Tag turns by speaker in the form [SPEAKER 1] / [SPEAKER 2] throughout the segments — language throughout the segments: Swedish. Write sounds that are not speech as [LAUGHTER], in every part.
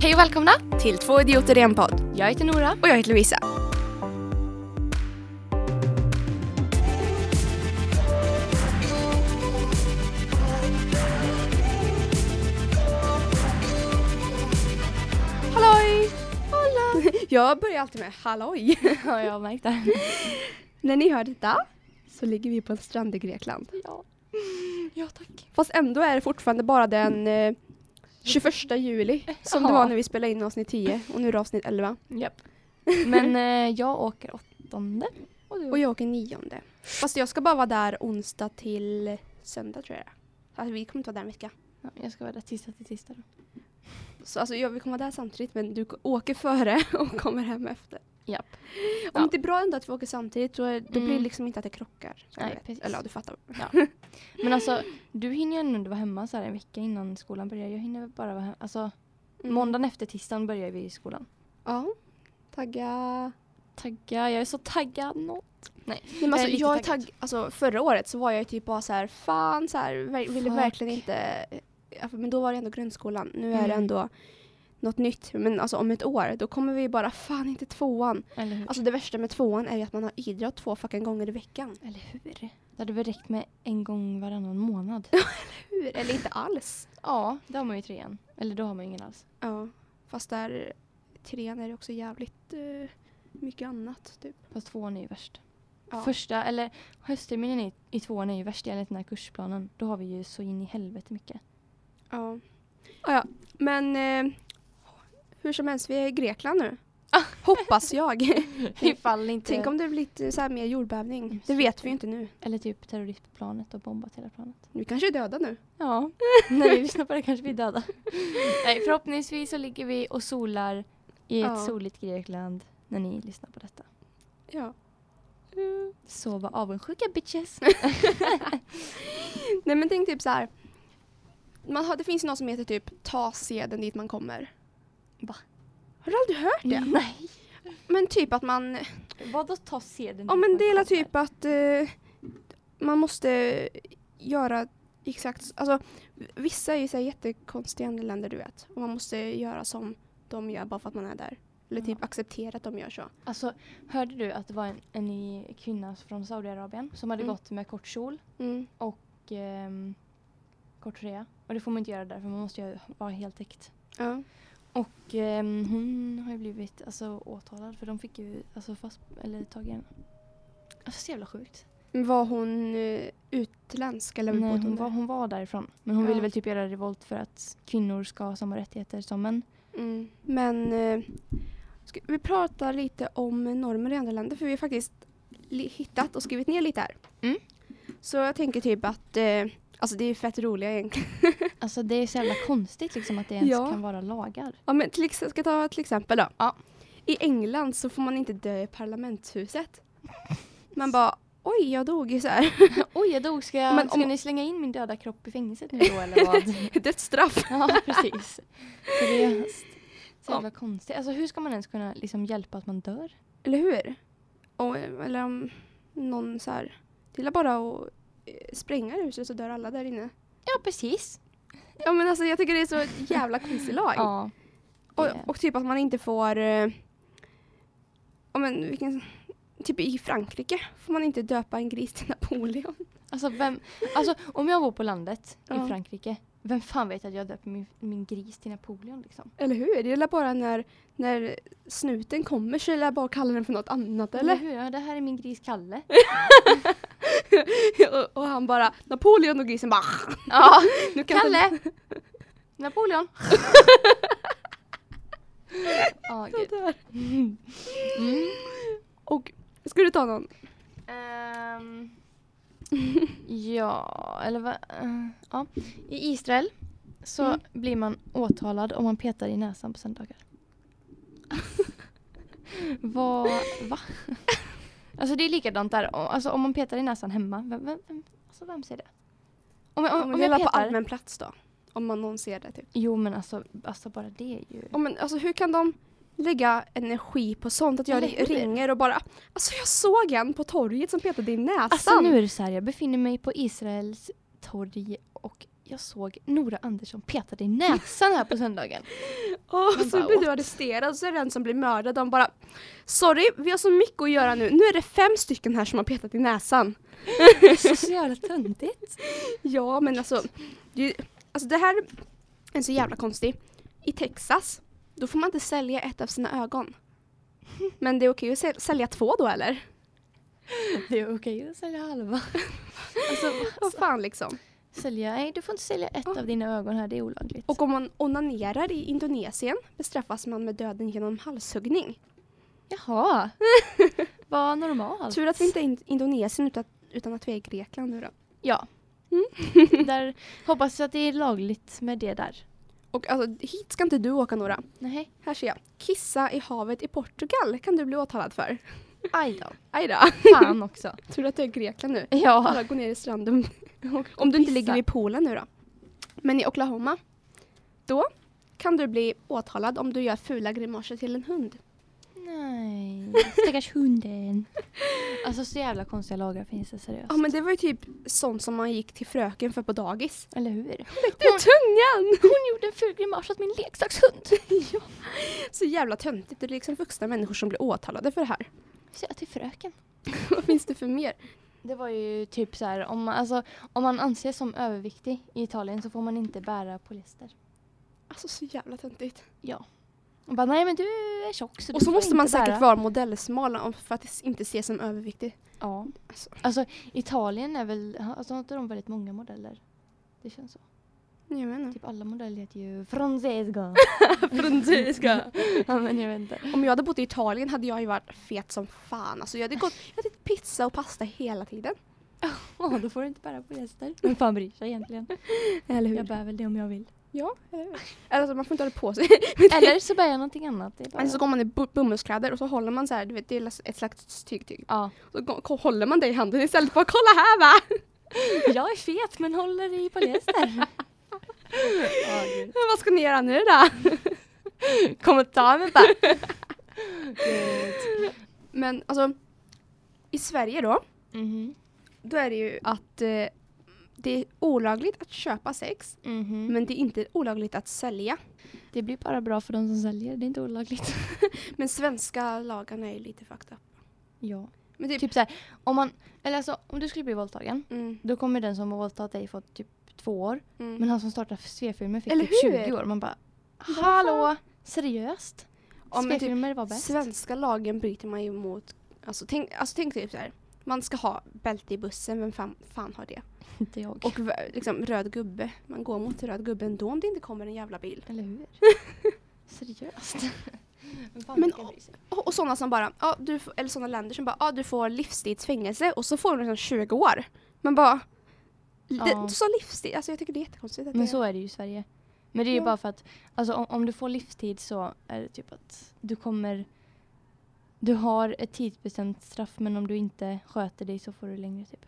[SPEAKER 1] Hej och välkomna!
[SPEAKER 2] till Två idioter i en podd.
[SPEAKER 1] Jag heter Nora.
[SPEAKER 2] Och jag heter Lovisa. Halloj! Hallå! [LAUGHS] Jag börjar alltid med halloj.
[SPEAKER 1] [LAUGHS] Ja, jag har märkt det.
[SPEAKER 2] [LAUGHS] När ni hör detta så ligger vi på en strand i Grekland.
[SPEAKER 1] Ja. ja, tack.
[SPEAKER 2] Fast ändå är det fortfarande bara den eh, 21 juli som det
[SPEAKER 1] Ja.
[SPEAKER 2] var när vi spelade in avsnitt 10 och nu är det avsnitt 11.
[SPEAKER 1] Japp. [LAUGHS] Men eh, jag åker åttonde. Och du?
[SPEAKER 2] Och jag åker nionde. Fast jag ska bara vara där onsdag till söndag tror jag det är. Alltså, vi kommer inte vara där en vecka.
[SPEAKER 1] Ja, jag ska vara där tisdag till tisdag. Då.
[SPEAKER 2] Så alltså, jag, vi kommer vara där samtidigt men du åker före [LAUGHS] och kommer hem efter.
[SPEAKER 1] Japp.
[SPEAKER 2] Om
[SPEAKER 1] Ja.
[SPEAKER 2] det är bra ändå att vi åker samtidigt så är- då blir det
[SPEAKER 1] Mm.
[SPEAKER 2] liksom inte att det krockar. som
[SPEAKER 1] Nej,
[SPEAKER 2] du vet.
[SPEAKER 1] precis.
[SPEAKER 2] Eller ja, du fattar.
[SPEAKER 1] Men alltså, du hinner ju ändå vara hemma så här en vecka innan skolan börjar. Jag hinner väl bara vara hemma. Alltså,
[SPEAKER 2] Mm.
[SPEAKER 1] måndagen efter tisdagen börjar vi i skolan.
[SPEAKER 2] Ja. Tagga.
[SPEAKER 1] Tagga, jag är så taggad. No.
[SPEAKER 2] Nej, men
[SPEAKER 1] Jag är
[SPEAKER 2] alltså,
[SPEAKER 1] lite
[SPEAKER 2] jag är
[SPEAKER 1] taggad.
[SPEAKER 2] tagg, alltså, förra året så var jag ju typ bara så här, fan så här, ver- ville
[SPEAKER 1] Fuck.
[SPEAKER 2] verkligen inte. Ja, för- Men då var det ändå grundskolan. Nu är det
[SPEAKER 1] Mm.
[SPEAKER 2] ändå något nytt. Men alltså om ett år då kommer vi bara, fan inte tvåan.
[SPEAKER 1] Eller hur?
[SPEAKER 2] Alltså det värsta med tvåan är ju att man har idrott två fucking gånger i veckan.
[SPEAKER 1] Eller hur? Det hade väl räckt med en gång varannan månad.
[SPEAKER 2] Hur? Eller inte alls.
[SPEAKER 1] [LAUGHS] ja, det har man ju i trean. Eller då har man ju ingen alls.
[SPEAKER 2] Ja, fast där trean är det också jävligt eh, mycket annat typ.
[SPEAKER 1] Fast tvåan är ju värst.
[SPEAKER 2] Ja.
[SPEAKER 1] Första, eller höstterminen i, i tvåan är ju värst enligt den här kursplanen. Då har vi ju så in i helvete mycket.
[SPEAKER 2] Ja. Ah, ja. Men eh, hur som helst, vi är i Grekland nu. [LAUGHS] Hoppas [LAUGHS] jag.
[SPEAKER 1] [LAUGHS] Ifall inte...
[SPEAKER 2] Tänk om det blir lite så här mer jordbävning. Det vet vi ju inte nu.
[SPEAKER 1] Eller typ terroristplanet och bombat hela planet.
[SPEAKER 2] Vi kanske är döda nu.
[SPEAKER 1] [LAUGHS] Ja, när vi lyssnar på det kanske vi är döda. [LAUGHS] Nej, förhoppningsvis så ligger vi och solar i ett
[SPEAKER 2] Ja.
[SPEAKER 1] soligt Grekland när ni lyssnar på detta.
[SPEAKER 2] Ja.
[SPEAKER 1] Så var avundsjuka [LAUGHS] bitches.
[SPEAKER 2] Nej men tänk typ så här. Man har, det finns ju något som heter typ ta seden dit man kommer.
[SPEAKER 1] Va?
[SPEAKER 2] Har du aldrig hört det?
[SPEAKER 1] [LAUGHS] Nej.
[SPEAKER 2] Men typ att man
[SPEAKER 1] Vadå ta seden?
[SPEAKER 2] Ja men det är typ att eh, man måste göra exakt, alltså vissa är ju så här jättekonstiga andra länder du vet och man måste göra som de gör bara för att man är där. Eller typ
[SPEAKER 1] Ja.
[SPEAKER 2] acceptera att de gör så.
[SPEAKER 1] Alltså, hörde du att det var en, en ny kvinna från Saudiarabien som hade
[SPEAKER 2] Mm.
[SPEAKER 1] gått med kort kjol och ehm, kort tröja. Och det får man inte göra där för man måste ju vara heltäckt.
[SPEAKER 2] Ja.
[SPEAKER 1] Och ehm, hon har ju blivit alltså, åtalad för de fick ju alltså, fast, eller tagit henne. Alltså så jävla sjukt.
[SPEAKER 2] Men Var hon eh, utländsk eller
[SPEAKER 1] Nej,
[SPEAKER 2] bodde
[SPEAKER 1] hon,
[SPEAKER 2] där?
[SPEAKER 1] var, hon var därifrån. Men hon
[SPEAKER 2] Ja.
[SPEAKER 1] ville väl typ göra revolt för att kvinnor ska ha samma rättigheter som män.
[SPEAKER 2] Mm. Men eh, ska vi pratar lite om normer i andra länder för vi har faktiskt li- hittat och skrivit ner lite här.
[SPEAKER 1] Mm.
[SPEAKER 2] Så jag tänker typ att, eh, alltså det är fett roliga egentligen
[SPEAKER 1] Alltså det är så jävla konstigt liksom att det ens
[SPEAKER 2] Ja.
[SPEAKER 1] kan vara lagar.
[SPEAKER 2] Ja, men till, ex- ska jag ta till exempel då.
[SPEAKER 1] Ja.
[SPEAKER 2] I England så får man inte dö i parlamentshuset. Man bara, oj jag dog ju så här. [LAUGHS]
[SPEAKER 1] Oj, jag dog. Ska, jag,
[SPEAKER 2] Men
[SPEAKER 1] ska
[SPEAKER 2] om-
[SPEAKER 1] ni slänga in min döda kropp i fängelset nu då [LAUGHS] eller vad?
[SPEAKER 2] Dödsstraff.
[SPEAKER 1] Ja, precis. Seriöst. Så
[SPEAKER 2] Ja.
[SPEAKER 1] jävla konstigt. Alltså hur ska man ens kunna liksom hjälpa att man dör?
[SPEAKER 2] Eller hur? Och, eller om någon så här, det är bara att eh, spränga huset så dör alla där inne.
[SPEAKER 1] Ja, precis.
[SPEAKER 2] Ja men alltså jag tycker det är så jävla konstig lag.
[SPEAKER 1] Ja.
[SPEAKER 2] Och,
[SPEAKER 1] det-
[SPEAKER 2] och typ att man inte får, eh, ja men vilken, typ i Frankrike får man inte döpa en gris till Napoleon.
[SPEAKER 1] Alltså, vem, alltså om jag bor på landet
[SPEAKER 2] Ja.
[SPEAKER 1] i Frankrike, vem fan vet att jag döper min, min gris till Napoleon liksom?
[SPEAKER 2] Eller hur? Det är väl bara när, när snuten kommer så är det bara att kalla den för något annat
[SPEAKER 1] Eller
[SPEAKER 2] eller? [LAUGHS]
[SPEAKER 1] hur? Ja, det här är min gris Kalle.
[SPEAKER 2] och, och han bara Napoleon och grisen bara
[SPEAKER 1] [LAUGHS]
[SPEAKER 2] [LAUGHS]
[SPEAKER 1] Ja,
[SPEAKER 2] nu kan inte-
[SPEAKER 1] Kalle! Napoleon!
[SPEAKER 2] [LAUGHS]
[SPEAKER 1] Ja, gud.
[SPEAKER 2] Det där.
[SPEAKER 1] Mm.
[SPEAKER 2] Och ska du ta någon? [LAUGHS]
[SPEAKER 1] Ehm, ja, eller vad? eh, ja. I Israel så
[SPEAKER 2] Mm.
[SPEAKER 1] blir man åtalad om man petar i näsan på
[SPEAKER 2] [LAUGHS]
[SPEAKER 1] söndagar. vad? Va? alltså det är likadant där. O- Alltså, om man petar i näsan hemma, vem, vem, vem, alltså, vem ser det? Om, jag- om, om jag
[SPEAKER 2] på
[SPEAKER 1] petar...
[SPEAKER 2] allmän plats då? Om man någon ser det typ.
[SPEAKER 1] Jo men alltså, alltså bara det är ju...
[SPEAKER 2] Ja, men, alltså, hur kan de lägga energi på sånt? Att jag
[SPEAKER 1] Eller hur?
[SPEAKER 2] ringer och bara Alltså jag såg en på torget som petade i näsan.
[SPEAKER 1] Alltså nu är det så här, jag befinner mig på Israels torg och jag såg Nora Andersson petade i näsan här på söndagen.
[SPEAKER 2] Och
[SPEAKER 1] Man
[SPEAKER 2] så
[SPEAKER 1] bara,
[SPEAKER 2] blir
[SPEAKER 1] "What?"
[SPEAKER 2] du arresterad så är det den som blir mördad. De bara Sorry, vi har så mycket att göra nu. Nu är det fem stycken här som har petat i näsan.
[SPEAKER 1] [LAUGHS] Det är så jävla töntigt.
[SPEAKER 2] Ja men alltså det, alltså det här är så jävla konstigt. I Texas, då får man inte sälja ett av sina ögon. Men det är okej att säl- sälja två då eller?
[SPEAKER 1] Det är okej att sälja halva. Alltså,
[SPEAKER 2] [LAUGHS] Vad fan liksom.
[SPEAKER 1] sälja, nej du får inte sälja ett av dina ögon här, det är olagligt.
[SPEAKER 2] Och om man onanerar i Indonesien bestraffas man med döden genom halshuggning.
[SPEAKER 1] [LAUGHS] Jaha. Vad normalt.
[SPEAKER 2] Tur att vi inte är i in- Indonesien utan, utan att vi är i Grekland nu då.
[SPEAKER 1] Ja. Mm. [LAUGHS] där, hoppas att det är lagligt med det där.
[SPEAKER 2] Och alltså hit ska inte du åka Nora.
[SPEAKER 1] Nej.
[SPEAKER 2] Här ser jag. Kissa i havet i Portugal kan du bli åtalad för.
[SPEAKER 1] Aj då.
[SPEAKER 2] Aj då.
[SPEAKER 1] Fan också.
[SPEAKER 2] [LAUGHS] Tur att det är Grekland nu.
[SPEAKER 1] [LAUGHS] Ja.
[SPEAKER 2] Alla går ner i stranden. Om du inte ligger vid poolen nu då. Men i Oklahoma, då kan du bli åtalad om du gör fula grimaser till en hund.
[SPEAKER 1] Nej. Stackars hunden. Alltså så jävla konstiga lagar finns det seriöst.
[SPEAKER 2] Ja men det var ju typ sånt som man gick till fröken för på dagis.
[SPEAKER 1] Eller hur?
[SPEAKER 2] Det är tungan!
[SPEAKER 1] Hon gjorde en ful grimas åt min [LAUGHS] leksakshund.
[SPEAKER 2] ja. Så jävla töntigt. Det är liksom vuxna människor som blir åtalade för det här.
[SPEAKER 1] Sa jag till fröken.
[SPEAKER 2] [LAUGHS] Vad finns det för mer?
[SPEAKER 1] Det var ju typ så här, om man, alltså, om man anses som överviktig i Italien så får man inte bära polyester.
[SPEAKER 2] Alltså så jävla töntigt.
[SPEAKER 1] Ja. Och bara, nej men du är tjock så
[SPEAKER 2] Och
[SPEAKER 1] du
[SPEAKER 2] så
[SPEAKER 1] får
[SPEAKER 2] måste man
[SPEAKER 1] inte bära.
[SPEAKER 2] säkert vara modellsmal om- för att inte ses som överviktig.
[SPEAKER 1] Ja.
[SPEAKER 2] Alltså.
[SPEAKER 1] Alltså Italien är väl, alltså har inte de väldigt många modeller? Det känns så.
[SPEAKER 2] Jag menar.
[SPEAKER 1] Typ alla modeller heter ju [LAUGHS] Francesca.
[SPEAKER 2] Franziska.
[SPEAKER 1] [LAUGHS] ja men jag vet inte.
[SPEAKER 2] Typ, Om jag hade bott i Italien hade jag ju varit fet som fan. Alltså jag hade gått, jag hade ätit pizza och pasta hela tiden.
[SPEAKER 1] Ja då får du inte bära polyester. Vem fan bryr sig egentligen?
[SPEAKER 2] Eller
[SPEAKER 1] Jag bär väl det om jag vill.
[SPEAKER 2] Ja. Eller [LAUGHS] alltså man får inte ha det på sig.
[SPEAKER 1] [LAUGHS] Eller så bär jag någonting annat. Det är bara...
[SPEAKER 2] Men så går man i bu- bomullskläder och så håller man så här, du vet det är ett slags tygtyg.
[SPEAKER 1] ja.
[SPEAKER 2] Så gå- ko- håller man det i handen istället för att kolla här va!
[SPEAKER 1] [LAUGHS]
[SPEAKER 2] [LAUGHS]
[SPEAKER 1] Jag är fet men håller i polyester. [LAUGHS] Ja, gud.
[SPEAKER 2] Vad ska ni göra nu då?
[SPEAKER 1] Kom och ta mig bara. [LAUGHS] Gud.
[SPEAKER 2] Men alltså i Sverige då,
[SPEAKER 1] Mhm.
[SPEAKER 2] då är det ju att eh, det är olagligt att köpa sex
[SPEAKER 1] Mhm.
[SPEAKER 2] men det är inte olagligt att sälja.
[SPEAKER 1] Det blir bara bra för de som säljer, det är inte olagligt.
[SPEAKER 2] Men svenska lagarna är ju lite fucked up.
[SPEAKER 1] [LAUGHS] ja.
[SPEAKER 2] Men typ,
[SPEAKER 1] Typ såhär, om man, eller alltså om du skulle bli våldtagen
[SPEAKER 2] mm,
[SPEAKER 1] Då kommer den som har våldtagit dig få typ två år.
[SPEAKER 2] mm.
[SPEAKER 1] Men han som startar svefilmer fick
[SPEAKER 2] Eller
[SPEAKER 1] typ
[SPEAKER 2] hur?
[SPEAKER 1] 20 år. Man bara, hallå, seriöst?
[SPEAKER 2] Ja, men typ
[SPEAKER 1] Svefilmer var bäst.
[SPEAKER 2] Svenska lagen bryter man ju mot, alltså tänk, alltså tänk typ så här. Man ska ha bälte i bussen, vem fan, fan har det?
[SPEAKER 1] Inte jag.
[SPEAKER 2] Och v- liksom röd gubbe, man går mot röd gubbe ändå om det inte kommer en jävla bil.
[SPEAKER 1] Eller [LAUGHS] hur? seriöst? Vem fan
[SPEAKER 2] Men
[SPEAKER 1] ska bry sig?
[SPEAKER 2] Och, och sådana som bara, ja du, f- eller sådana länder som bara, ja du får livstidsfängelse och så får du liksom 20 år. Man bara,
[SPEAKER 1] Ja.
[SPEAKER 2] det, du sa livstid, alltså jag tycker det är jättekonstigt. Att
[SPEAKER 1] Men
[SPEAKER 2] det,
[SPEAKER 1] så är det ju i Sverige. Men det är ju
[SPEAKER 2] Ja.
[SPEAKER 1] bara för att alltså, om, om du får livstid så är det typ att du kommer du har ett tidsbestämt straff men om du inte sköter dig så får du längre typ.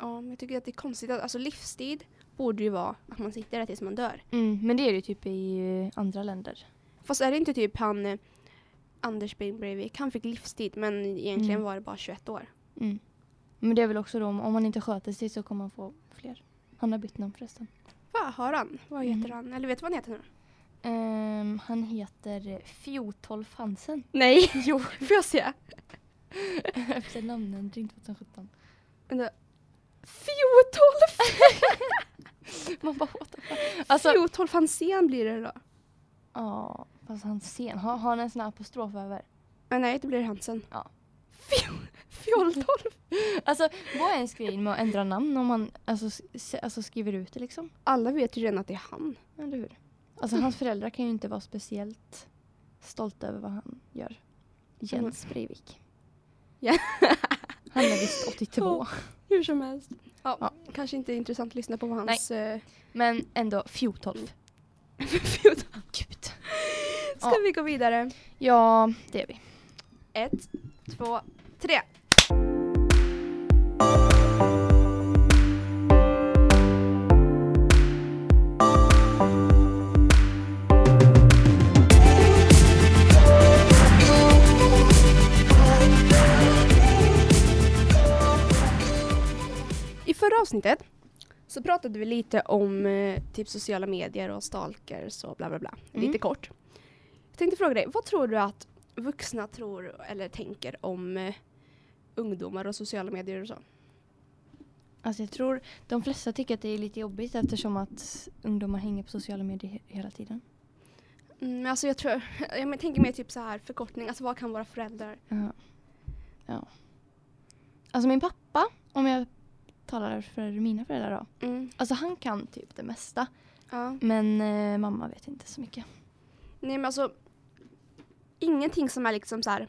[SPEAKER 2] Ja, men jag tycker att det är konstigt, att, alltså livstid borde ju vara att man sitter där tills man dör.
[SPEAKER 1] Mm, men det är det ju typ i eh, andra länder.
[SPEAKER 2] Fast är det inte typ han eh, Anders Bring Breivik, han fick livstid men egentligen
[SPEAKER 1] Mm.
[SPEAKER 2] var det bara 21 år.
[SPEAKER 1] Mm. Men det är väl också då om, om man inte sköter sig så kommer man få fler. Han har bytt namn förresten.
[SPEAKER 2] Vad har han? Vad heter
[SPEAKER 1] Mhm.
[SPEAKER 2] han? Eller vet du vad han heter nu?
[SPEAKER 1] Ehm, han heter Fjotolf Hansen.
[SPEAKER 2] Nej! [LAUGHS] Jo. Får jag se?
[SPEAKER 1] [LAUGHS] Efter namnändring 2017.
[SPEAKER 2] Vänta. Fjotolf!
[SPEAKER 1] [LAUGHS] Man bara what the [LAUGHS] fuck. Alltså,
[SPEAKER 2] Fjotolf Hanzén blir det då.
[SPEAKER 1] ja, fast han sen. Har, har han en sån här apostrof över?
[SPEAKER 2] Ah, nej, det blir Hansen.
[SPEAKER 1] Ja.
[SPEAKER 2] Fjo- Fjoltolf!
[SPEAKER 1] [LAUGHS] Alltså, vad är ens grejen med att ändra namn om man alltså, s- alltså, skriver ut det liksom?
[SPEAKER 2] [LAUGHS] Alla vet ju redan att det är han.
[SPEAKER 1] Eller hur? Alltså hans föräldrar kan ju inte vara speciellt stolta över vad han gör. Jens Breivik.
[SPEAKER 2] Ja.
[SPEAKER 1] Han är visst 82.
[SPEAKER 2] [LAUGHS] Hur som helst. Ja,
[SPEAKER 1] Ja.
[SPEAKER 2] Kanske inte intressant att lyssna på vad hans... Eh,
[SPEAKER 1] Men ändå, Fjotolf.
[SPEAKER 2] Fjotolf.
[SPEAKER 1] Gud.
[SPEAKER 2] Ska
[SPEAKER 1] Ja.
[SPEAKER 2] vi gå vidare?
[SPEAKER 1] Ja, det är vi.
[SPEAKER 2] Ett, två, tre. I förra avsnittet Så pratade vi lite om eh, typ sociala medier och stalkers och bla bla bla.
[SPEAKER 1] Mm.
[SPEAKER 2] Lite kort. Jag tänkte fråga dig, vad tror du att vuxna tror eller tänker om eh, ungdomar och sociala medier och så?
[SPEAKER 1] Alltså jag tror de flesta tycker att det är lite jobbigt eftersom att ungdomar hänger på sociala medier he- hela tiden.
[SPEAKER 2] Mm, men alltså jag tror, [LAUGHS] jag men- tänker mer typ så här förkortning, alltså vad kan våra föräldrar?
[SPEAKER 1] Ja. ja. Alltså min pappa, om jag talar för mina föräldrar då.
[SPEAKER 2] Mm,
[SPEAKER 1] Alltså han kan typ det mesta.
[SPEAKER 2] ja.
[SPEAKER 1] Men eh, mamma vet inte så mycket.
[SPEAKER 2] Nej men alltså ingenting som är liksom så här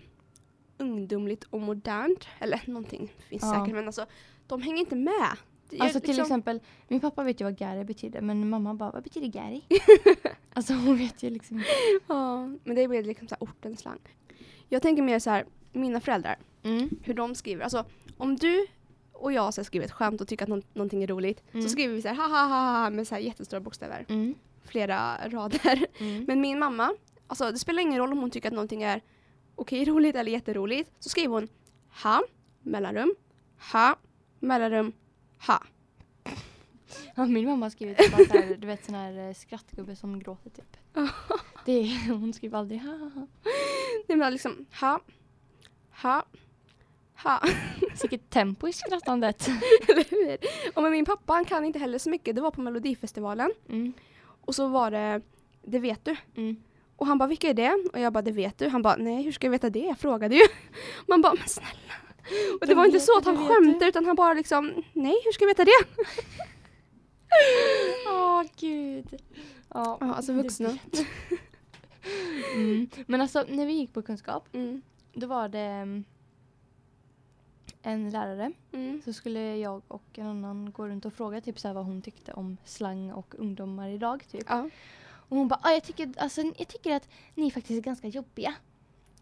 [SPEAKER 2] ungdomligt och modernt eller [LAUGHS] någonting finns
[SPEAKER 1] Ja.
[SPEAKER 2] säkert men alltså de hänger inte med. Det är
[SPEAKER 1] Alltså till
[SPEAKER 2] liksom-
[SPEAKER 1] exempel, min pappa vet ju vad Gary betyder men mamma bara, vad betyder
[SPEAKER 2] [LAUGHS]
[SPEAKER 1] Gary? alltså hon vet ju liksom inte.
[SPEAKER 2] [LAUGHS] Ja, men det blir liksom så här ortens slang. Jag tänker mer så här, mina föräldrar, hur de skriver. Alltså om du och jag så här, skriver ett skämt och tycker att nå- någonting är roligt
[SPEAKER 1] Mm.
[SPEAKER 2] så skriver vi så här ha ha ha ha med så här jättestora bokstäver.
[SPEAKER 1] Mm.
[SPEAKER 2] Flera [LAUGHS] rader.
[SPEAKER 1] Mm.
[SPEAKER 2] Men min mamma, alltså det spelar ingen roll om hon tycker att någonting är okej roligt eller jätteroligt. Så skriver hon ha, mellanrum, ha, mellanrum, ha.
[SPEAKER 1] Ja, min mamma har skrivit bara så här, du vet sån här eh, skrattgubbe som gråter
[SPEAKER 2] [LAUGHS]
[SPEAKER 1] typ. det är, hon skriver aldrig ha ha ha.
[SPEAKER 2] Det blir liksom ha, ha, ha. [LAUGHS]
[SPEAKER 1] Vilket tempo i skrattandet.
[SPEAKER 2] Eller hur? Och men min pappa han kan inte heller så mycket. Det var på Melodifestivalen.
[SPEAKER 1] Mm.
[SPEAKER 2] Och så var det Det vet du.
[SPEAKER 1] Mm.
[SPEAKER 2] Och han bara vilka är det? Och jag bara det vet du. Han bara nej hur ska jag veta det? Jag frågade ju. [LAUGHS] Man bara men snälla. Och det
[SPEAKER 1] Det
[SPEAKER 2] var inte
[SPEAKER 1] vet
[SPEAKER 2] så
[SPEAKER 1] du,
[SPEAKER 2] att han
[SPEAKER 1] det vet
[SPEAKER 2] skämtade
[SPEAKER 1] du.
[SPEAKER 2] utan han bara liksom nej hur ska jag
[SPEAKER 1] [LAUGHS]
[SPEAKER 2] veta det?
[SPEAKER 1] Åh gud. Ja,
[SPEAKER 2] Ja alltså
[SPEAKER 1] det
[SPEAKER 2] vuxna.
[SPEAKER 1] vet.
[SPEAKER 2] [LAUGHS]
[SPEAKER 1] Mm. Men alltså när vi gick på kunskap,
[SPEAKER 2] Mm.
[SPEAKER 1] då var det mm, en lärare
[SPEAKER 2] Mm.
[SPEAKER 1] Så skulle jag och en annan gå runt och fråga typ så här vad hon tyckte om slang och ungdomar idag. Typ.
[SPEAKER 2] Ja.
[SPEAKER 1] Och hon bara, "Ah, jag tycker, alltså, jag tycker att ni faktiskt är ganska jobbiga.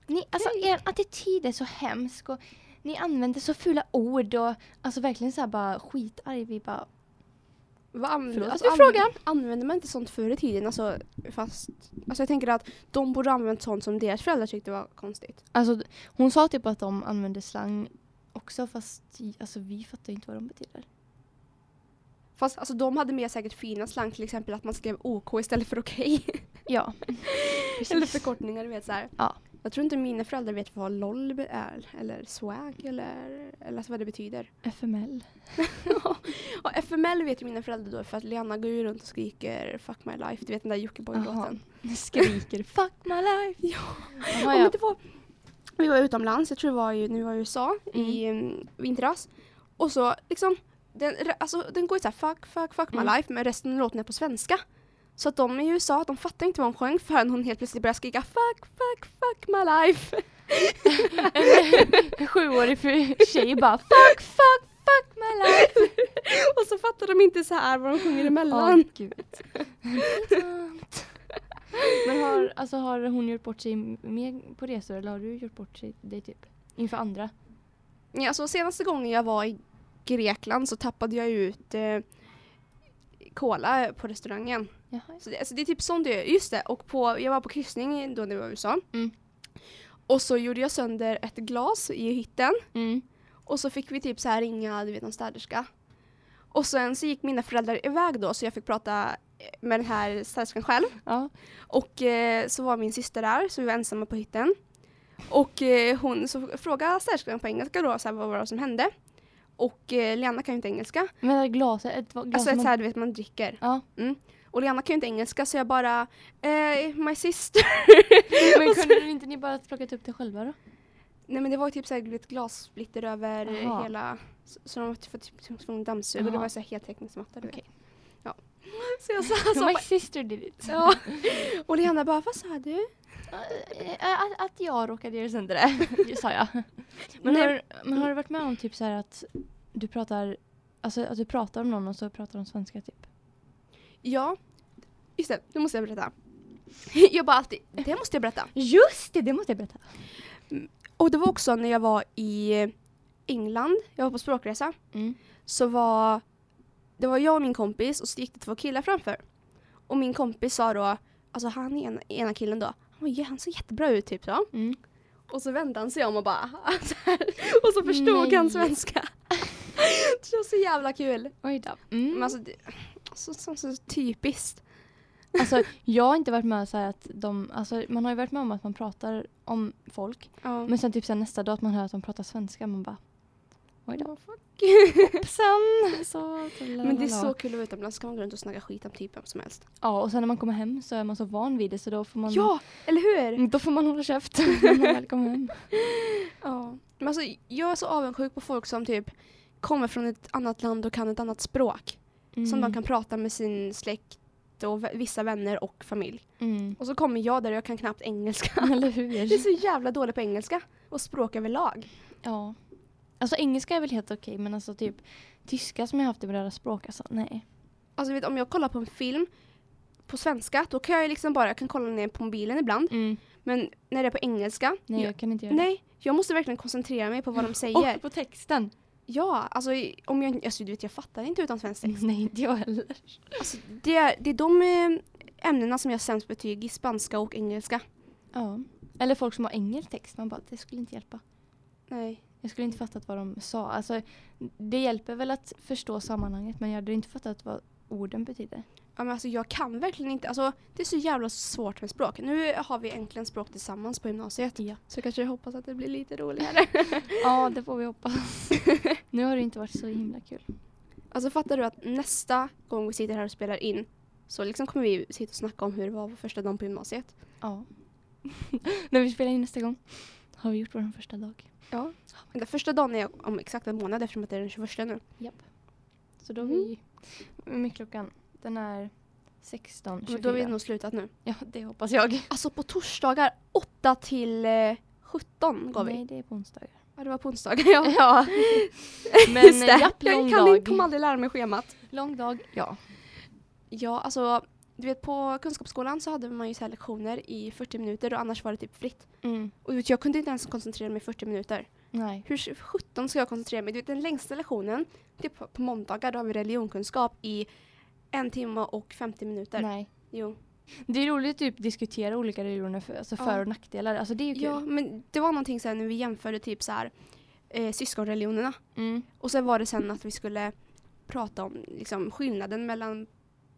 [SPEAKER 1] Ni, alltså, er attityd är så hemsk och ni använder så fula ord och alltså verkligen så här bara skitarg. Vi bara,
[SPEAKER 2] Vad använder,
[SPEAKER 1] Förlåt
[SPEAKER 2] alltså,
[SPEAKER 1] för
[SPEAKER 2] anv-
[SPEAKER 1] frågan.
[SPEAKER 2] använder man inte sånt förr i tiden? Alltså, fast, alltså jag tänker att de borde ha använt sånt som deras föräldrar tyckte var konstigt.
[SPEAKER 1] alltså, hon sa typ att de använder slang också fast i- alltså, vi fattar ju inte vad de betyder.
[SPEAKER 2] Fast alltså, de hade mer säkert fina slang till exempel att man skrev OK istället för okej.
[SPEAKER 1] Ja.
[SPEAKER 2] Eller
[SPEAKER 1] Precis.
[SPEAKER 2] förkortningar, du vet så här.
[SPEAKER 1] Ja.
[SPEAKER 2] Jag tror inte mina föräldrar vet vad LOL be- är, eller swag, eller, eller alltså vad det betyder.
[SPEAKER 1] FML.
[SPEAKER 2] och FML vet ju mina föräldrar då, för att Lena går ju runt och skriker Fuck my life, du vet den där
[SPEAKER 1] Jaha.
[SPEAKER 2] Jockiboi-låten.
[SPEAKER 1] Skriker fuck my life. Ja.
[SPEAKER 2] Ja,
[SPEAKER 1] Jaha,
[SPEAKER 2] men
[SPEAKER 1] ja.
[SPEAKER 2] det var, vi var utomlands, jag tror det var ju, nu var i USA i mm, vintras. Och så liksom, den, re- alltså, den går ju såhär fuck, fuck, fuck my
[SPEAKER 1] Mm.
[SPEAKER 2] life, men resten av låten är på svenska. Så att de i USA, de fattar inte vad hon sjöng förrän hon helt plötsligt började skrika fuck, fuck, fuck my life.
[SPEAKER 1] En sjuårig för- tjej bara fuck, fuck, fuck my life.
[SPEAKER 2] [LAUGHS] Och så fattar de inte så här vad de sjunger
[SPEAKER 1] Åh
[SPEAKER 2] emellan.
[SPEAKER 1] gud. [LAUGHS] Men har, alltså, har hon gjort bort sig mer på resor eller har du gjort bort sig dig typ? Inför andra?
[SPEAKER 2] Ja, alltså, senaste gången jag var i Grekland så tappade jag ut eh, cola på restaurangen.
[SPEAKER 1] Jaha.
[SPEAKER 2] Så det, alltså, det är typ sånt jag gör. Just det, och på, jag var på kryssning då när jag var i USA.
[SPEAKER 1] Mm.
[SPEAKER 2] Och så gjorde jag sönder ett glas i hytten
[SPEAKER 1] Mm.
[SPEAKER 2] och så fick vi typ så här ringa du vet, någon städerska. Och sen så gick mina föräldrar iväg då så jag fick prata eh, med den här städerskan själv.
[SPEAKER 1] Ja.
[SPEAKER 2] Och eh, så var min syster där, så vi var ensamma på hytten. Och eh, hon så frågade städerskan på engelska då, så här, vad var det som hände? Och eh, Lena kan ju inte engelska.
[SPEAKER 1] Men det här glaset, ett glas
[SPEAKER 2] alltså ett
[SPEAKER 1] man-
[SPEAKER 2] så här, du vet, man dricker.
[SPEAKER 1] Ja.
[SPEAKER 2] Och Lena kan ju inte engelska så jag bara, eh, my sister. [LAUGHS]
[SPEAKER 1] Men kunde inte ni bara plockat upp det själva då?
[SPEAKER 2] Nej men det var ju typ så här, du vet, glassplitter över eh,
[SPEAKER 1] Jaha.
[SPEAKER 2] hela, så, så de var typ, typ tvungna att dammsuga och det
[SPEAKER 1] Jaha.
[SPEAKER 2] var så här heltäckningsmatta du vet.
[SPEAKER 1] Okej.
[SPEAKER 2] Ja. [LAUGHS] Så jag
[SPEAKER 1] [LAUGHS]
[SPEAKER 2] sa så
[SPEAKER 1] My sister did it.
[SPEAKER 2] Alltså,
[SPEAKER 1] [LAUGHS]
[SPEAKER 2] Ja. Och Lena bara, vad sa du?
[SPEAKER 1] Eh, eh, Att, att jag råkade göra sönder [LAUGHS] det, sa jag. Men
[SPEAKER 2] Nej.
[SPEAKER 1] har, men har du varit med om typ så här att du pratar, alltså att du pratar om någon och så pratar de svenska typ?
[SPEAKER 2] Ja, just det, nu måste jag berätta. [LAUGHS] Jag bara alltid, det måste jag berätta.
[SPEAKER 1] Just det, det måste jag berätta.
[SPEAKER 2] Och det var också när jag var i England, jag var på språkresa,
[SPEAKER 1] Mm.
[SPEAKER 2] så var det var jag och min kompis och så gick det två killar framför. Och min kompis sa då, alltså han ena, ena killen då, han, var, "Ja, han såg jättebra ut typ så.
[SPEAKER 1] Mm.
[SPEAKER 2] [LAUGHS] Och så vände han sig om och bara, så här, och så förstod
[SPEAKER 1] Nej.
[SPEAKER 2] han svenska. [LAUGHS] det känns så jävla kul.
[SPEAKER 1] Oj då.
[SPEAKER 2] Men
[SPEAKER 1] Mm.
[SPEAKER 2] alltså, det, så, så, så typiskt.
[SPEAKER 1] Alltså, jag har inte varit med så här att de, alltså, man har ju varit med om att man pratar om folk.
[SPEAKER 2] Ja. [LAUGHS]
[SPEAKER 1] Men sen typ sen nästa dag att man hör att de pratar svenska. Man bara, oj då.
[SPEAKER 2] Ja, fuck.
[SPEAKER 1] Sen så.
[SPEAKER 2] Men det är så kul att vara utomlands, så kan man gå runt och snacka skit om typ vem som helst.
[SPEAKER 1] Ja, och sen när man kommer hem så är man så van vid det så då får man,
[SPEAKER 2] Ja, eller hur?
[SPEAKER 1] Mm, då får man hålla käft när man väl kommer [LAUGHS] hem.
[SPEAKER 2] Ja. Men alltså, jag är så avundsjuk på folk som typ kommer från ett annat land och kan ett annat språk.
[SPEAKER 1] Mm.
[SPEAKER 2] Som de kan prata med sin släkt och v- vissa vänner och familj.
[SPEAKER 1] Mm.
[SPEAKER 2] Och så kommer jag där och jag kan knappt engelska.
[SPEAKER 1] [LAUGHS] Eller
[SPEAKER 2] [LAUGHS] Jag är
[SPEAKER 1] hur?
[SPEAKER 2] så jävla dålig på engelska och språk överlag.
[SPEAKER 1] [LAUGHS] Ja. Alltså engelska är väl helt okej men alltså typ tyska som jag haft i berörda språk alltså nej.
[SPEAKER 2] Alltså vet, du, om jag kollar på en film på svenska, då kan jag ju liksom bara, jag kan kolla ner på mobilen ibland. Men när det är på engelska,
[SPEAKER 1] Mm. Nej
[SPEAKER 2] jag,
[SPEAKER 1] jag kan inte göra
[SPEAKER 2] nej, jag måste verkligen koncentrera mig på vad de
[SPEAKER 1] det.
[SPEAKER 2] säger.
[SPEAKER 1] Och på texten.
[SPEAKER 2] Ja, alltså i- om jag, alltså, du vet, jag fattar inte utan svensk text.
[SPEAKER 1] Nej inte jag heller.
[SPEAKER 2] Alltså, det, är, det är de eh, ämnena som jag har sämst betyg i, spanska och engelska.
[SPEAKER 1] Ja. Eller folk som har engelsk text man bara det skulle inte hjälpa.
[SPEAKER 2] Nej.
[SPEAKER 1] Jag skulle inte fattat vad de sa. Alltså det hjälper väl att förstå sammanhanget men jag hade inte fattat vad orden betyder.
[SPEAKER 2] Ja, men alltså, jag kan verkligen inte, alltså, det är så jävla svårt med språk. Nu har vi äntligen språk tillsammans på gymnasiet.
[SPEAKER 1] Ja.
[SPEAKER 2] Så kanske jag hoppas att det blir lite roligare.
[SPEAKER 1] Ja det får vi hoppas. [LAUGHS] nu har det inte varit så himla kul.
[SPEAKER 2] alltså fattar du att nästa gång vi sitter här och spelar in så liksom kommer vi sitta och snacka om hur det var vår första dag på gymnasiet.
[SPEAKER 1] Ja. [LAUGHS] När vi spelar in nästa gång har vi gjort vår första dag.
[SPEAKER 2] Ja. Den första dagen är om exakt en månad eftersom att det är den 21 nu.
[SPEAKER 1] Japp. Så då är vi... Med klockan? Den är 16.24.
[SPEAKER 2] Mm. Men då har vi nog slutat nu.
[SPEAKER 1] Ja, det hoppas
[SPEAKER 2] [LAUGHS]
[SPEAKER 1] jag.
[SPEAKER 2] Alltså på torsdagar 8 till eh, 17 går vi.
[SPEAKER 1] Nej, det är på onsdagar.
[SPEAKER 2] Ja, det var på onsdagar. [LAUGHS] Ja.
[SPEAKER 1] [LAUGHS]
[SPEAKER 2] eh,
[SPEAKER 1] Ja. Men eh,
[SPEAKER 2] Just det.
[SPEAKER 1] japp, lång
[SPEAKER 2] jag kan
[SPEAKER 1] dag.
[SPEAKER 2] inte, kommer aldrig lära mig schemat.
[SPEAKER 1] Lång dag, ja.
[SPEAKER 2] Ja, alltså du vet på kunskapsskolan så hade man ju så här lektioner i 40 minuter och annars var det typ fritt.
[SPEAKER 1] Mm.
[SPEAKER 2] Och du vet, jag kunde inte ens koncentrera mig i 40 minuter.
[SPEAKER 1] Nej.
[SPEAKER 2] Hur sjutton ska jag koncentrera mig? Du vet den längsta lektionen, det är på, på måndagar, då har vi religionskunskap i en timme och 50 minuter.
[SPEAKER 1] Nej.
[SPEAKER 2] Jo.
[SPEAKER 1] Det är roligt att typ, diskutera olika religioner, för, alltså
[SPEAKER 2] Ja.
[SPEAKER 1] för och nackdelar. Alltså det är ju kul.
[SPEAKER 2] Ja, men det var någonting sen när vi jämförde typ så här eh, syskonreligionerna.
[SPEAKER 1] Mm.
[SPEAKER 2] Och sen var det sen att vi skulle prata om liksom, skillnaden mellan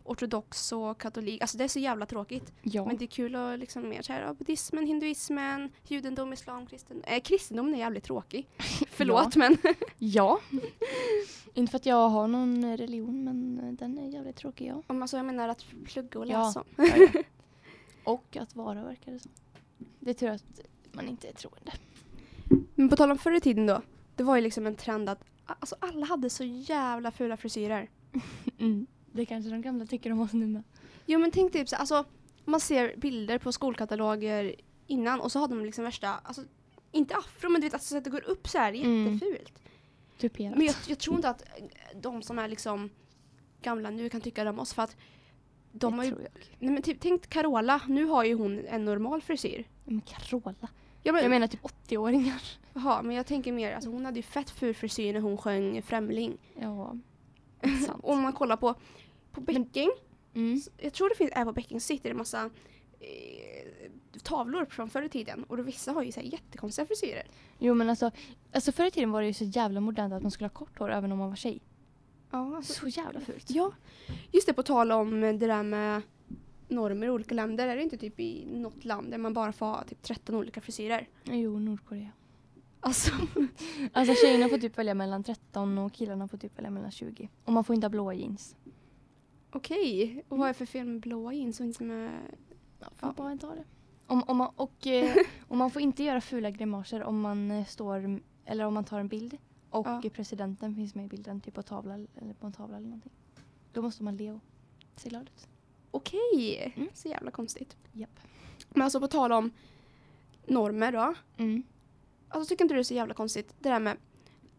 [SPEAKER 2] ortodox och katolik. Alltså det är så jävla tråkigt.
[SPEAKER 1] ja.
[SPEAKER 2] Men det är kul att liksom mer så här, ja, buddhismen, hinduismen, judendom, islam, kristendom. Eh, kristendomen är jävligt [LAUGHS] tråkig. Förlåt men. [LAUGHS]
[SPEAKER 1] ja. [LAUGHS] inte för att jag har någon religion, men eh, den är jävligt tråkig, ja.
[SPEAKER 2] Om alltså, jag menar att plugga och
[SPEAKER 1] Ja.
[SPEAKER 2] läsa.
[SPEAKER 1] [LAUGHS] Och att vara, verkar det som. Det är tur att man inte är troende.
[SPEAKER 2] Men på tal om förr i tiden då. Det var ju liksom en trend att alltså, alla hade så jävla fula frisyrer.
[SPEAKER 1] Mm. Det kanske de gamla tycker om oss nu med.
[SPEAKER 2] Jo men tänk typ så alltså man ser bilder på skolkataloger innan och så har de liksom värsta, alltså inte afro men du vet alltså, så att det går upp så här
[SPEAKER 1] Mm.
[SPEAKER 2] jättefult.
[SPEAKER 1] Tuperat.
[SPEAKER 2] Men jag, jag tror inte att eh, de som är liksom gamla nu kan tycka det om oss för att de har ju,
[SPEAKER 1] tror jag.
[SPEAKER 2] nej men typ tänk Carola, nu har ju hon en normal frisyr.
[SPEAKER 1] Men Carola.
[SPEAKER 2] Ja, men,
[SPEAKER 1] Jag menar typ 80-åringar.
[SPEAKER 2] Jaha, men jag tänker mer, alltså hon hade ju fett ful frisyr när hon sjöng Främling.
[SPEAKER 1] Ja. Sant.
[SPEAKER 2] [LAUGHS] Om man kollar på, på Becking,
[SPEAKER 1] Mm.
[SPEAKER 2] jag tror det finns, är på Becking så sitter det en massa eh, tavlor från förr i tiden och då vissa har ju så här jättekonstiga frisyrer.
[SPEAKER 1] Jo men alltså, alltså förr i tiden var det ju så jävla modernt att man skulle ha kort hår även om man var tjej.
[SPEAKER 2] Ja,
[SPEAKER 1] Så jävla fult.
[SPEAKER 2] ja. Just det, på tal om det där med normer i olika länder, är det inte typ i något land där man bara får ha typ 13 olika frisyrer?
[SPEAKER 1] Jo, Nordkorea.
[SPEAKER 2] Alltså, [LAUGHS]
[SPEAKER 1] Alltså tjejerna får typ välja mellan 13 och killarna får typ välja mellan 20. Och man får inte ha blåa jeans.
[SPEAKER 2] okej. Och vad är det för fel med blåa jeans och inte med...
[SPEAKER 1] Ja, får
[SPEAKER 2] Ja.
[SPEAKER 1] bara ta det. Om, om man, och, [LAUGHS] eh, och man får inte göra fula grimaser om man eh, står, eller om man tar en bild och
[SPEAKER 2] Ja.
[SPEAKER 1] presidenten finns med i bilden, typ på, tavla, eller på en tavla eller någonting. Då måste man le och se glad ut.
[SPEAKER 2] Okej!
[SPEAKER 1] Mm.
[SPEAKER 2] Så jävla konstigt.
[SPEAKER 1] Japp.
[SPEAKER 2] Men alltså på tal om normer då.
[SPEAKER 1] Mm.
[SPEAKER 2] Alltså tycker inte du det är så jävla konstigt det där med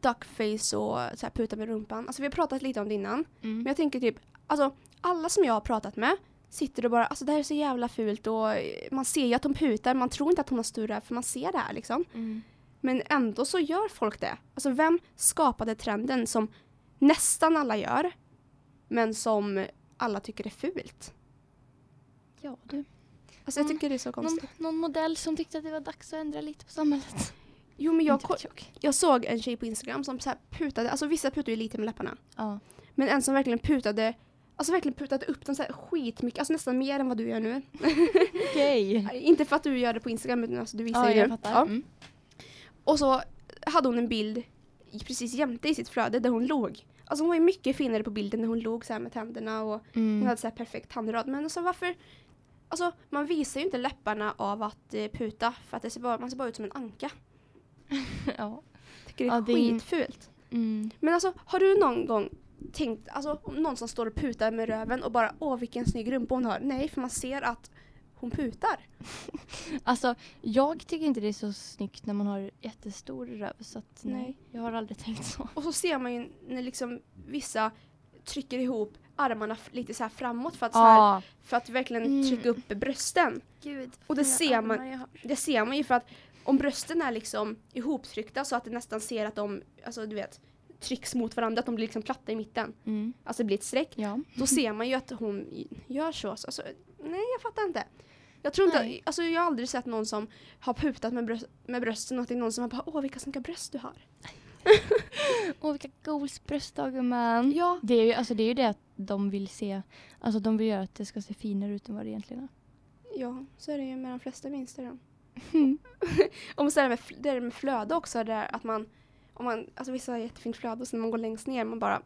[SPEAKER 2] duckface och så här puta med rumpan. Alltså vi har pratat lite om det innan.
[SPEAKER 1] mm,
[SPEAKER 2] Men jag tänker typ, alltså alla som jag har pratat med sitter och bara, alltså det här är så jävla fult och eh, man ser ju att de putar, man tror inte att hon har större för man ser det här liksom.
[SPEAKER 1] Mm.
[SPEAKER 2] Men ändå så gör folk det. Alltså vem skapade trenden som nästan alla gör men som alla tycker är fult?
[SPEAKER 1] Ja du.
[SPEAKER 2] Alltså jag
[SPEAKER 1] Mm.
[SPEAKER 2] tycker det är så
[SPEAKER 1] Någon,
[SPEAKER 2] konstigt.
[SPEAKER 1] någon modell som tyckte att det var dags att ändra lite på samhället.
[SPEAKER 2] Jo men jag,
[SPEAKER 1] Inte
[SPEAKER 2] ko-
[SPEAKER 1] vet [LAUGHS] jag.
[SPEAKER 2] jag såg en tjej på Instagram som så här putade, alltså vissa putar ju lite med läpparna.
[SPEAKER 1] Ja.
[SPEAKER 2] Men en som verkligen putade, alltså verkligen putade upp dem så här skitmycket, alltså nästan mer än vad du gör nu.
[SPEAKER 1] [LAUGHS] Okej.
[SPEAKER 2] Inte för att du gör det på Instagram utan alltså du visar
[SPEAKER 1] Ja,
[SPEAKER 2] ju
[SPEAKER 1] jag
[SPEAKER 2] det.
[SPEAKER 1] fattar.
[SPEAKER 2] Ja.
[SPEAKER 1] Mm.
[SPEAKER 2] Och så hade hon en bild i- precis jämte i sitt flöde där hon låg. Alltså hon var ju mycket finare på bilden när hon låg så här med tänderna och hon
[SPEAKER 1] Mm.
[SPEAKER 2] hade så här perfekt tandrad. Men alltså varför? Alltså man visar ju inte läpparna av att eh, puta för att det ser bara, man ser bara ut som en anka.
[SPEAKER 1] Mm. [LAUGHS] ja.
[SPEAKER 2] Tycker det är
[SPEAKER 1] Ja, det är ju-
[SPEAKER 2] skitfult.
[SPEAKER 1] Mm.
[SPEAKER 2] Men alltså har du någon gång tänkt, alltså om någon som står och putar med röven och bara åh vilken snygg rumpa hon har. Nej för man ser att hon putar.
[SPEAKER 1] Alltså, jag tycker inte det är så snyggt när man har jättestor röv. Så att, nej.
[SPEAKER 2] Nej.
[SPEAKER 1] Jag har aldrig tänkt så.
[SPEAKER 2] Och så ser man ju när liksom vissa trycker ihop armarna f- lite så här framåt för att, så här, för att verkligen
[SPEAKER 1] Mm.
[SPEAKER 2] trycka upp brösten.
[SPEAKER 1] Gud,
[SPEAKER 2] Och det ser man- Det ser man ju för att om brösten är liksom ihoptryckta så att det nästan ser att de, alltså du vet, trycks mot varandra, att de blir liksom platta i mitten.
[SPEAKER 1] Mm.
[SPEAKER 2] Alltså det blir ett streck.
[SPEAKER 1] Ja.
[SPEAKER 2] Då ser man ju att hon gör så. så- Alltså, nej, jag fattar inte. Jag tror inte,
[SPEAKER 1] Nej.
[SPEAKER 2] alltså jag har aldrig sett någon som har putat med, bröst, med brösten och att det är någon som har bara åh vilka snygga bröst du har.
[SPEAKER 1] Åh, vilka goals bröstdagar man.
[SPEAKER 2] Ja,
[SPEAKER 1] Det är, ju, alltså, det är ju det att de vill se, alltså de vill göra att det ska se finare ut än vad det egentligen är.
[SPEAKER 2] ja, så är det ju med de flesta på Instagram.
[SPEAKER 1] Mm.
[SPEAKER 2] [LAUGHS] Om så är det med, fl- det är det med flöde också, där att man, om man, alltså vissa har jättefint flöde och sen när man går längst ner man bara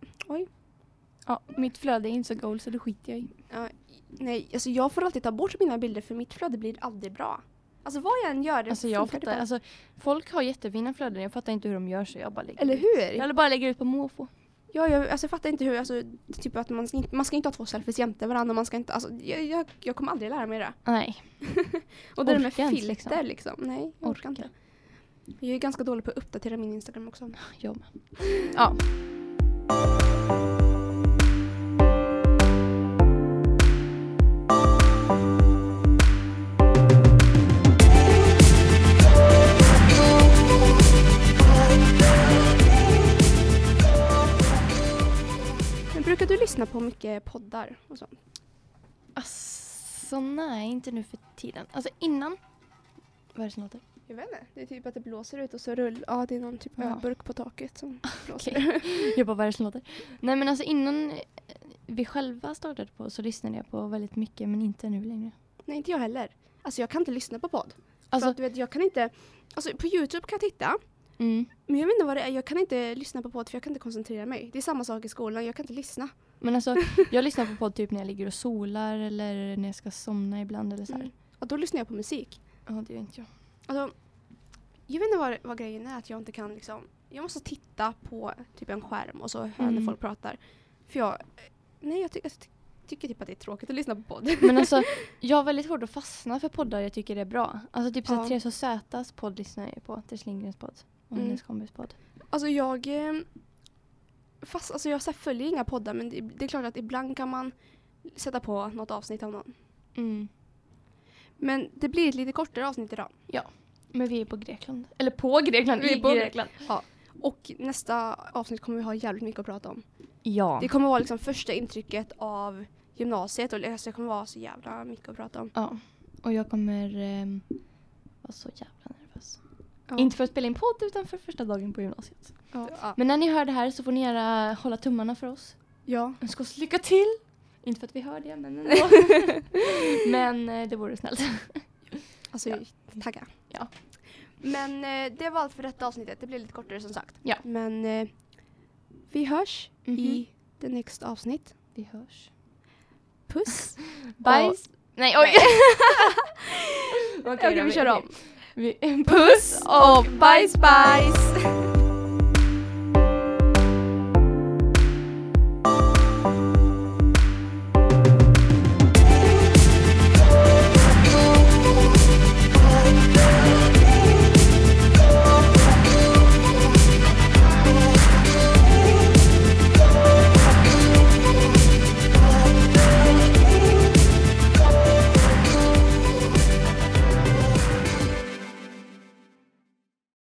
[SPEAKER 1] Ja, mitt flöde är inte så goals så det skiter jag i.
[SPEAKER 2] Ja, nej, alltså jag får alltid ta bort mina bilder för mitt flöde blir aldrig bra. Alltså vad jag än gör det
[SPEAKER 1] Alltså jag
[SPEAKER 2] funkar det
[SPEAKER 1] fattar,
[SPEAKER 2] bara.
[SPEAKER 1] alltså, folk har jättefina flöden, jag fattar inte hur de gör så jag bara lägger
[SPEAKER 2] Eller
[SPEAKER 1] ut.
[SPEAKER 2] hur?
[SPEAKER 1] Eller bara lägger ut på måfå.
[SPEAKER 2] Ja, jag, alltså, jag fattar inte hur, alltså, typ att man ska inte, man ska inte ha två selfies jämte varandra. Man ska inte, alltså, jag, jag, jag kommer aldrig lära mig det.
[SPEAKER 1] Nej,
[SPEAKER 2] Och det där med
[SPEAKER 1] Orkar inte,
[SPEAKER 2] filter liksom. Nej, jag orkar,
[SPEAKER 1] Orkar.
[SPEAKER 2] inte. Jag är ganska dålig på att uppdatera min Instagram också.
[SPEAKER 1] jag med. Ja.
[SPEAKER 2] Men brukar du lyssna på mycket poddar och sånt?
[SPEAKER 1] Alltså nej, inte nu för tiden. Alltså innan, vad är det som låter?
[SPEAKER 2] Jag vet inte. Det är typ att det blåser ut och så rullar, ja det är någon typ
[SPEAKER 1] Ja.
[SPEAKER 2] ölburk på taket som
[SPEAKER 1] [LAUGHS]
[SPEAKER 2] blåser.
[SPEAKER 1] Okej. Jag bara, vad är det som låter? Nej men alltså innan eh, vi själva startade på så lyssnade jag på väldigt mycket men inte nu längre.
[SPEAKER 2] Nej, inte jag heller. Alltså jag kan inte lyssna på podd. För
[SPEAKER 1] Alltså,
[SPEAKER 2] att, du vet, jag kan inte, alltså på Youtube kan jag titta,
[SPEAKER 1] mm,
[SPEAKER 2] men jag vet inte vad det är, jag kan inte lyssna på podd för jag kan inte koncentrera mig. Det är samma sak i skolan, jag kan inte lyssna.
[SPEAKER 1] men
[SPEAKER 2] [LAUGHS]
[SPEAKER 1] alltså jag lyssnar på podd typ när jag ligger och solar eller när jag ska somna ibland eller så här.
[SPEAKER 2] Mm. Och då lyssnar jag på musik.
[SPEAKER 1] Ja, det gör inte jag.
[SPEAKER 2] Alltså, jag vet inte vad, vad grejen är, att jag inte kan liksom, jag måste titta på typ en skärm och så höra när
[SPEAKER 1] Mm.
[SPEAKER 2] folk pratar. För jag, nej jag, ty- jag ty- tycker typ att det är tråkigt att lyssna
[SPEAKER 1] [LAUGHS]
[SPEAKER 2] på podd. [LAUGHS]
[SPEAKER 1] Men alltså jag har väldigt svårt att fastna för poddar jag tycker är bra. Alltså typ
[SPEAKER 2] Ja.
[SPEAKER 1] såhär Therese och Zätas podd lyssnar jag ju på. Therese Lindgrens podd. Och
[SPEAKER 2] Mm.
[SPEAKER 1] hennes kompis podd.
[SPEAKER 2] Alltså jag... eh, Fast alltså jag så här, följer inga poddar men det, det är klart att ibland kan man sätta på något avsnitt av någon.
[SPEAKER 1] Mm.
[SPEAKER 2] Men det blir ett lite kortare avsnitt idag.
[SPEAKER 1] Men vi är på Grekland. Eller på Grekland,
[SPEAKER 2] Vi är
[SPEAKER 1] i
[SPEAKER 2] på
[SPEAKER 1] Grekland.
[SPEAKER 2] Och nästa avsnitt kommer vi ha jävligt mycket att prata om.
[SPEAKER 1] Ja.
[SPEAKER 2] Det kommer vara liksom första intrycket av gymnasiet och alltså det kommer vara så jävla mycket att prata om.
[SPEAKER 1] Ja. Och jag kommer ehm, vara så jävla nervös.
[SPEAKER 2] Ja.
[SPEAKER 1] Inte för att spela in podd utan för första dagen på gymnasiet.
[SPEAKER 2] Ja.
[SPEAKER 1] Men när ni hör det här så får ni gärna hålla tummarna för oss.
[SPEAKER 2] ja.
[SPEAKER 1] Önska oss lycka till! Inte för att vi hör det men [LAUGHS] ändå. men eh, det vore snällt.
[SPEAKER 2] Alltså tagga.
[SPEAKER 1] Ja.
[SPEAKER 2] Men eh, det var allt för detta avsnittet. Det blir lite kortare som sagt.
[SPEAKER 1] Ja.
[SPEAKER 2] Men eh, vi hörs
[SPEAKER 1] Mhm.
[SPEAKER 2] i det nästa avsnitt.
[SPEAKER 1] Vi hörs.
[SPEAKER 2] Puss!
[SPEAKER 1] Bajs. Nej oj!
[SPEAKER 2] Okej,
[SPEAKER 1] då,
[SPEAKER 2] vi kör om.
[SPEAKER 1] [LAUGHS]
[SPEAKER 2] Oh,
[SPEAKER 1] Vi, puss och bajs bajs!